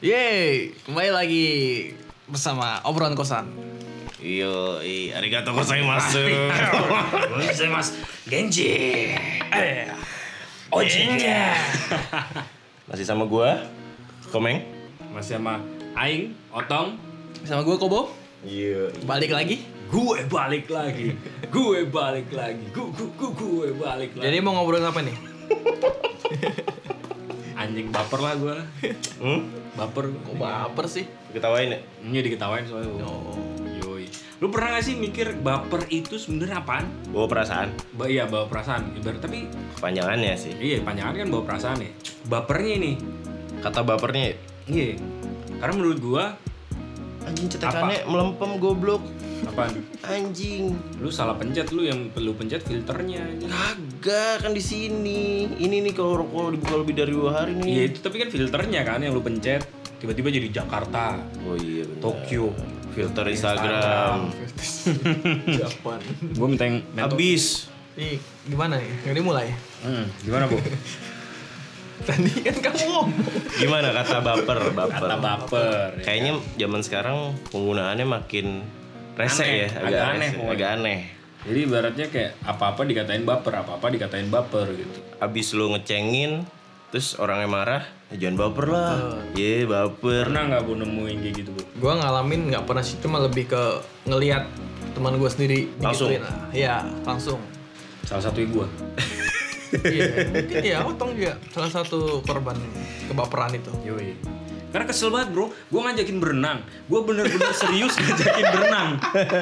Yeay, kembali lagi bersama obrolan kosan. Yo, i, arigato gozaimasu. mas Genji. Eh, Eh. Ojinnya. Masih sama gua, Komeng. Masih sama Aing, Otong, Sama gue Kobo, Iya. balik lagi. Gue balik lagi. Gue balik lagi. Gue gue gue, gue balik lagi. Jadi mau ngobrolin apa nih? anjing baper lah gua. Hmm? Baper. Kok baper sih? Ketawain ya? Ini diketawain soalnya. gua. Yoi. Lu pernah gak sih mikir baper itu sebenarnya apaan? Bawa perasaan. Ba iya bawa perasaan. Ibarat tapi Kepanjangannya sih. iya panjangan kan bawa perasaan ya. Bapernya ini. Kata bapernya ya? Iya. Karena menurut gua Anjing cetekannya melempem goblok. apaan? Anjing. Lu salah pencet lu yang perlu pencet filternya. anjing. Kagak kan di sini. Ini nih kalau kalau dibuka lebih dari dua hari nih. Iya itu tapi kan filternya kan yang lu pencet tiba-tiba jadi Jakarta, Oh iya bener. Tokyo. Filter Instagram. Japan. Gua minta yang Habis. Ih, gimana nih? Ini mulai. Hmm, gimana bu? Tadi kan kamu ngomong. Gimana kata baper? Baper. Kata baper. ya. Kayaknya zaman sekarang penggunaannya makin rese ya, Aneh, agak aneh rese, pokoknya. agak aneh. Jadi ibaratnya kayak apa-apa dikatain baper, apa-apa dikatain baper gitu. abis lu ngecengin terus orangnya marah ya jangan baper lah ye baper Pernah nggak bu nemuin kayak gitu bu? Gue ngalamin nggak pernah sih, cuma lebih ke ngelihat teman gue sendiri Langsung? digituin lah. Iya, langsung. Salah satu gua. Iya, mungkin ya otong juga salah satu korban kebaperan itu. Yoi. Karena kesel banget bro, gue ngajakin berenang Gue bener-bener serius ngajakin berenang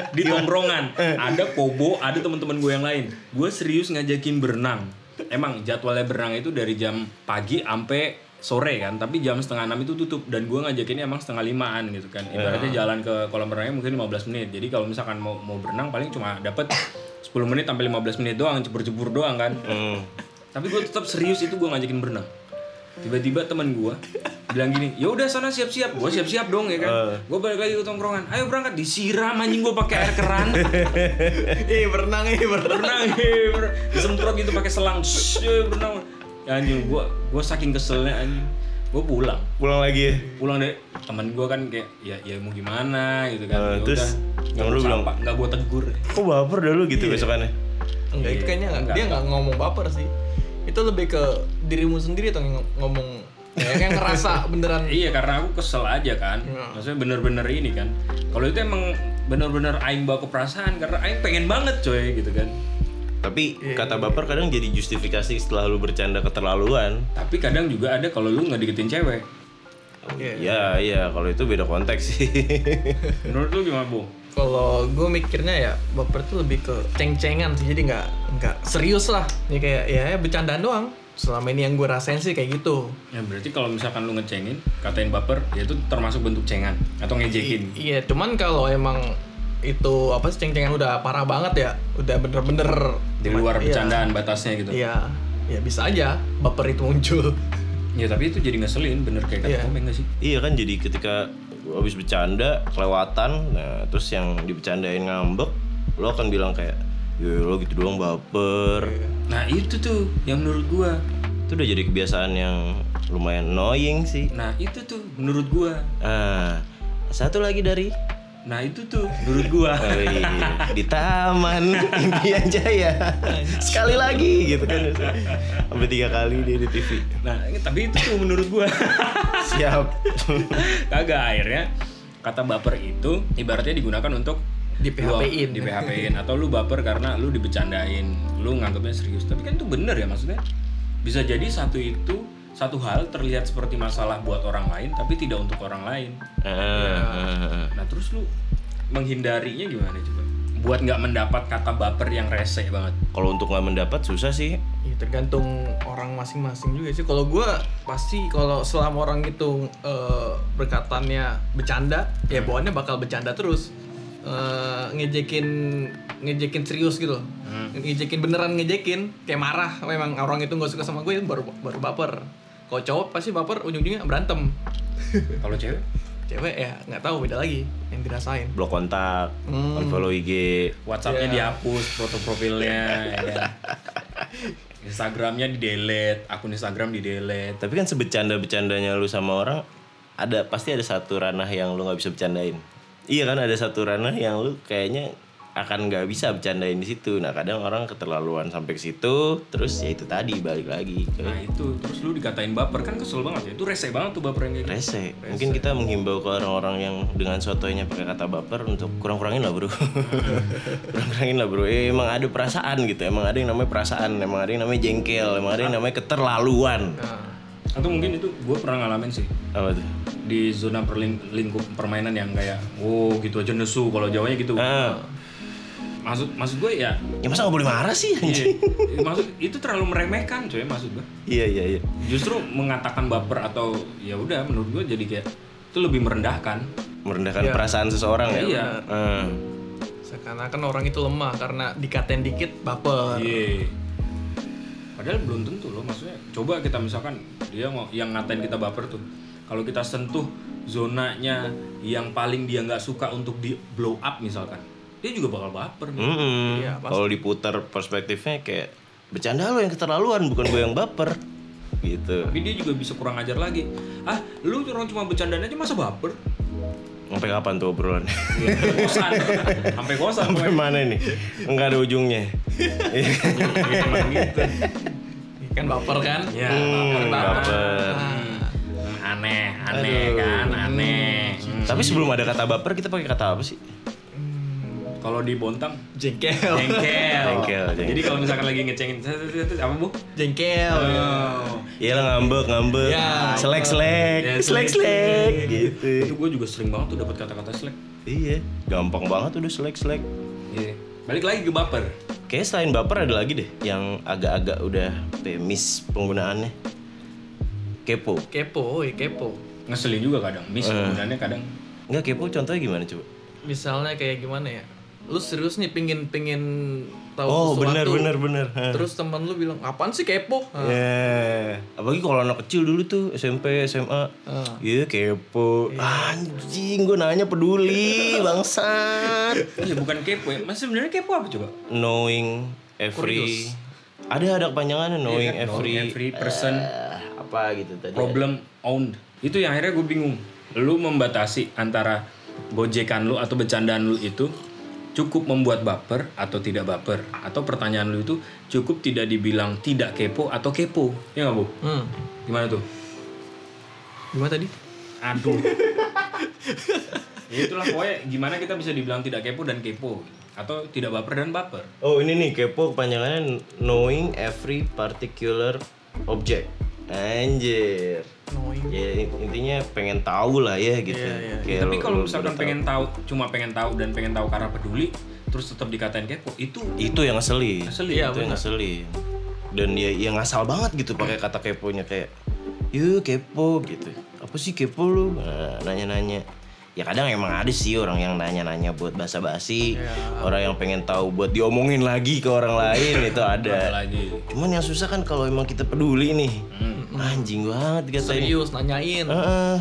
Di tongkrongan Ada Kobo, ada teman-teman gue yang lain Gue serius ngajakin berenang Emang jadwalnya berenang itu dari jam pagi sampai sore kan Tapi jam setengah enam itu tutup Dan gue ngajakinnya emang setengah limaan gitu kan Ibaratnya jalan ke kolam renangnya mungkin 15 menit Jadi kalau misalkan mau, mau berenang paling cuma dapet 10 menit sampai 15 menit doang Jebur-jebur doang kan Hmm. tapi gue tetap serius itu gue ngajakin berenang tiba-tiba teman gue bilang gini ya udah sana siap-siap gue siap-siap dong ya kan Eh. gue balik lagi ke tongkrongan ayo berangkat disiram anjing gue pakai air keran Ih, berenang, ih, berenang. berenang eh, ber- disemprot gitu pakai selang Shhh, eh, berenang ya, anjing gue gue saking keselnya anjing gue pulang pulang lagi ya pulang dari teman gue kan kayak ya ya mau gimana Eh, gitu kan Ya terus udah, yang lu bilang? nggak gue tegur kok baper dah lu gitu besokannya Iya, Enggak, itu kayaknya nggak- dia nggak ngomong baper sih. Itu lebih ke dirimu sendiri atau yang ngomong ya, kayak yang ngerasa beneran Iya karena aku kesel aja kan Iya. Maksudnya bener-bener ini kan Kalau itu emang bener-bener Aing bawa keperasaan Karena Aing pengen banget coy gitu kan tapi kata baper kadang jadi justifikasi setelah lu bercanda keterlaluan Tapi kadang juga ada kalau lu nggak deketin cewek ya iya kalau itu beda konteks sih Menurut lu gimana Bu? Kalau gue mikirnya ya baper tuh lebih ke ceng-cengan sih, jadi nggak nggak serius lah. Ini kayak ya bercandaan doang. Selama ini yang gue rasain sih kayak gitu. Ya berarti kalau misalkan lu ngecengin Katain baper Ya itu termasuk bentuk cengan Atau ngejekin Iya, cuman kalau emang itu apa sih ceng-cengan udah parah banget ya, udah bener-bener Di luar Iya. bercandaan batasnya gitu Iya, ya bisa aja baper itu muncul. Ya tapi itu jadi ngeselin Bener kayak kata Iya. komeng nggak sih? iya kan jadi ketika lu abis bercanda kelewatan nah terus yang dibercandain ngambek lu akan bilang kayak ya lo gitu doang baper Nah itu tuh yang menurut gua itu udah jadi kebiasaan yang lumayan annoying sih Nah itu tuh menurut gua ah satu lagi dari Nah itu tuh menurut gua Oh iya. di taman impian jaya sekali lagi gitu kan sampai tiga kali dia di TV Nah tapi itu tuh menurut gua siap kagak akhirnya kata baper itu ibaratnya digunakan untuk Di PHP-in. di PHP-in atau lu baper karena lu dibecandain lu nganggapnya serius tapi kan itu bener ya maksudnya bisa jadi satu itu satu hal terlihat seperti masalah buat orang lain tapi tidak untuk orang lain Eh, nah terus lu menghindarinya gimana coba buat nggak mendapat kata baper yang rese banget kalau untuk nggak mendapat susah sih Ya, tergantung orang masing-masing juga sih. Kalau gue pasti kalau selama orang itu eh, berkatannya bercanda, ya bawaannya bakal bercanda terus. Eh, ngejekin ngejekin serius gitu loh. Ngejekin beneran ngejekin, kayak marah memang orang itu nggak suka sama gue baru baru baper. Kalau cowok pasti baper ujung-ujungnya berantem. kalau cewek Cewek ya nggak tahu beda lagi yang dirasain. blok kontak unfollow IG WhatsAppnya dihapus foto profilnya ya kan? Instagramnya di delete akun Instagram di delete tapi kan sebecanda becandanya lu sama orang ada pasti ada satu ranah yang lu nggak bisa bercandain iya kan ada satu ranah yang lu kayaknya akan nggak bisa bercandain di situ nah kadang orang keterlaluan sampai ke situ terus ya itu tadi balik lagi ke Nah itu terus lu dikatain baper kan kesel banget ya. Itu rese banget tuh baper yang kayak gitu. rese mungkin kita menghimbau ke orang-orang yang dengan sotoynya pakai kata baper untuk kurang-kurangin lah bro kurang-kurangin lah bro Eh, emang ada perasaan gitu emang ada yang namanya perasaan emang ada yang namanya jengkel emang ada yang namanya keterlaluan Nah, Atau mungkin itu gue pernah ngalamin sih apa tuh di zona perling- lingkup permainan yang kayak wow gitu aja nesu kalau jawanya gitu. Ah. Maksud maksud gue ya ya masa nggak boleh marah sih anjing Iya. maksud itu terlalu meremehkan coy maksud gue iya iya iya justru mengatakan baper atau ya udah menurut gue jadi kayak itu lebih merendahkan merendahkan Iya. perasaan seseorang ya Iya. Ah. Seakan-akan orang itu lemah karena dikatain dikit baper. Iya. padahal belum tentu loh maksudnya coba kita misalkan dia ngo- yang ngatain kita baper tuh kalau kita sentuh zonanya yang paling dia nggak suka untuk di blow up misalkan dia juga bakal baper Mm-mm. Iya, pasti. kalau diputar perspektifnya kayak bercanda lo yang keterlaluan bukan gue yang baper gitu tapi dia juga bisa kurang ajar lagi ah lu orang cuma bercandaan aja masa baper sampai kapan tuh obrolan Ya, kosan sampai kosan sampai mana nih nggak ada ujungnya Iya, emang gitu. Kan baper kan? ya Hmm, baper. Hmm. Ah, aneh aneh kan aneh Hmm. tapi sebelum ada kata baper kita pakai kata apa sih kalau di Bontang jengkel. jengkel. Jengkel, jengkel. Jadi kalau misalkan lagi ngecengin set, set, set, set, apa bu? Jengkel. Oh, Iya lah ngambek ngambek, Ya. selek selek, Ya, selek selek, gitu. Itu gue juga sering banget tuh dapat kata-kata slack. Iya, gampang banget udah selek selek. Iya. Balik lagi ke baper. Kayaknya selain baper ada lagi deh yang agak-agak udah pemis penggunaannya. Kepo. Kepo, woi, kepo. Ngeselin juga kadang. Miss Eh. penggunaannya kadang. Enggak kepo contohnya gimana coba? Misalnya kayak gimana ya? Lu serius nih pingin pingin tahu Oh sesuatu. bener bener bener. Hah. Terus teman lu bilang, "Apaan sih kepo?" Ah, Ya, apalagi kalau anak kecil dulu tuh SMP, SMA. Ah, Iya kepo. Anjing, gue nanya peduli, bangsat. Iya bukan kepo ya. Mas sebenarnya kepo apa coba? Knowing every ada ada kepanjangannya knowing Iya, every, every person Eh, apa gitu tadi. problem owned. Itu yang akhirnya gue bingung. Lu membatasi antara gojekan lu atau bercandaan lu itu cukup membuat baper atau tidak baper atau pertanyaan lu itu cukup tidak dibilang tidak kepo atau kepo ya nggak bu Hmm. gimana tuh Gimana tadi? aduh ya itulah pokoknya gimana kita bisa dibilang tidak kepo dan kepo atau tidak baper dan baper Oh, ini nih kepo kepanjangannya knowing every particular object. Anjir. Knowing. Ya intinya pengen tahu lah ya gitu. Kayak tapi lo- kalau lo misalkan udah tahu. pengen tahu cuma pengen tahu dan pengen tahu karena peduli terus tetap dikatain kepo itu itu yang ngeselin. ngeselin Iya, itu yang ngeselin dan ya yang ngasal banget gitu pakai kata keponya kayak yuk kepo gitu apa sih kepo lu Nah, nanya-nanya ya kadang emang ada sih orang yang nanya-nanya buat basa-basi orang yang pengen tahu buat diomongin lagi ke orang lain itu ada lagi cuman yang susah kan kalau emang kita peduli nih anjing banget dikatain Serius nanyain. Heeh.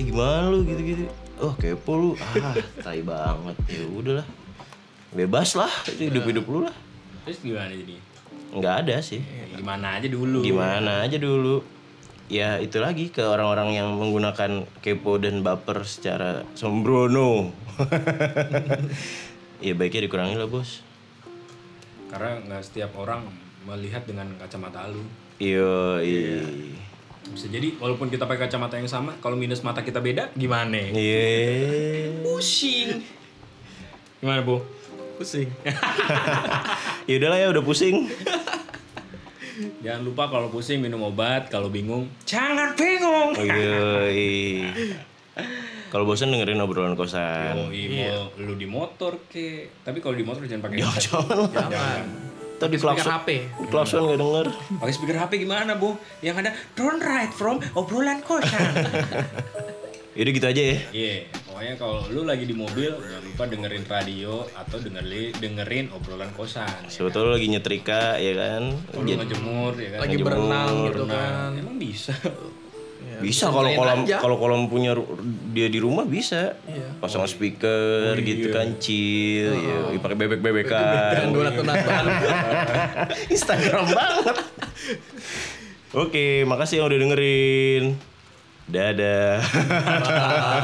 Eh, gimana lu gitu-gitu oh kepo lu ah tai banget ya udahlah bebas lah hidup-hidup lu lah terus gimana jadi nggak ada sih Iya, gimana aja dulu gimana aja dulu ya itu lagi ke orang-orang yang menggunakan kepo dan baper secara sembrono ya baiknya dikurangi lah bos karena nggak setiap orang melihat dengan kacamata lu iyo iya bisa jadi walaupun kita pakai kacamata yang sama kalau minus mata kita beda gimana Iya. pusing gimana bu Pusing. ya udahlah ya udah pusing jangan lupa kalau pusing minum obat kalau bingung jangan bingung Oh, Yoi. kalau bosan dengerin obrolan kosan Mau mau lu di motor ke tapi kalau Iya. di motor jangan pakai headset. jangan lah tadi Pakai klakson Iya, HP. klakson nggak denger pakai speaker HP gimana bu yang ada don't ride from obrolan kosan yaudah gitu aja ya Iya, pokoknya kalau lu lagi di mobil jangan lupa dengerin radio atau dengerin dengerin obrolan kosan. Ya. sebetulnya lu lagi nyetrika ya kan Kalau lu ngejemur ya kan. Lagi berenang gitu kan. Nah, emang bisa. Ya, bisa bisa kalau dengerin kolam aja. kalau kolam punya ru- dia di rumah bisa Iya. Oh, pasang speaker gitu kan chill ya Ih, pakai bebek Dan bebekan donat-donatan. Instagram banget oke makasih yang udah dengerin ah, Dadah.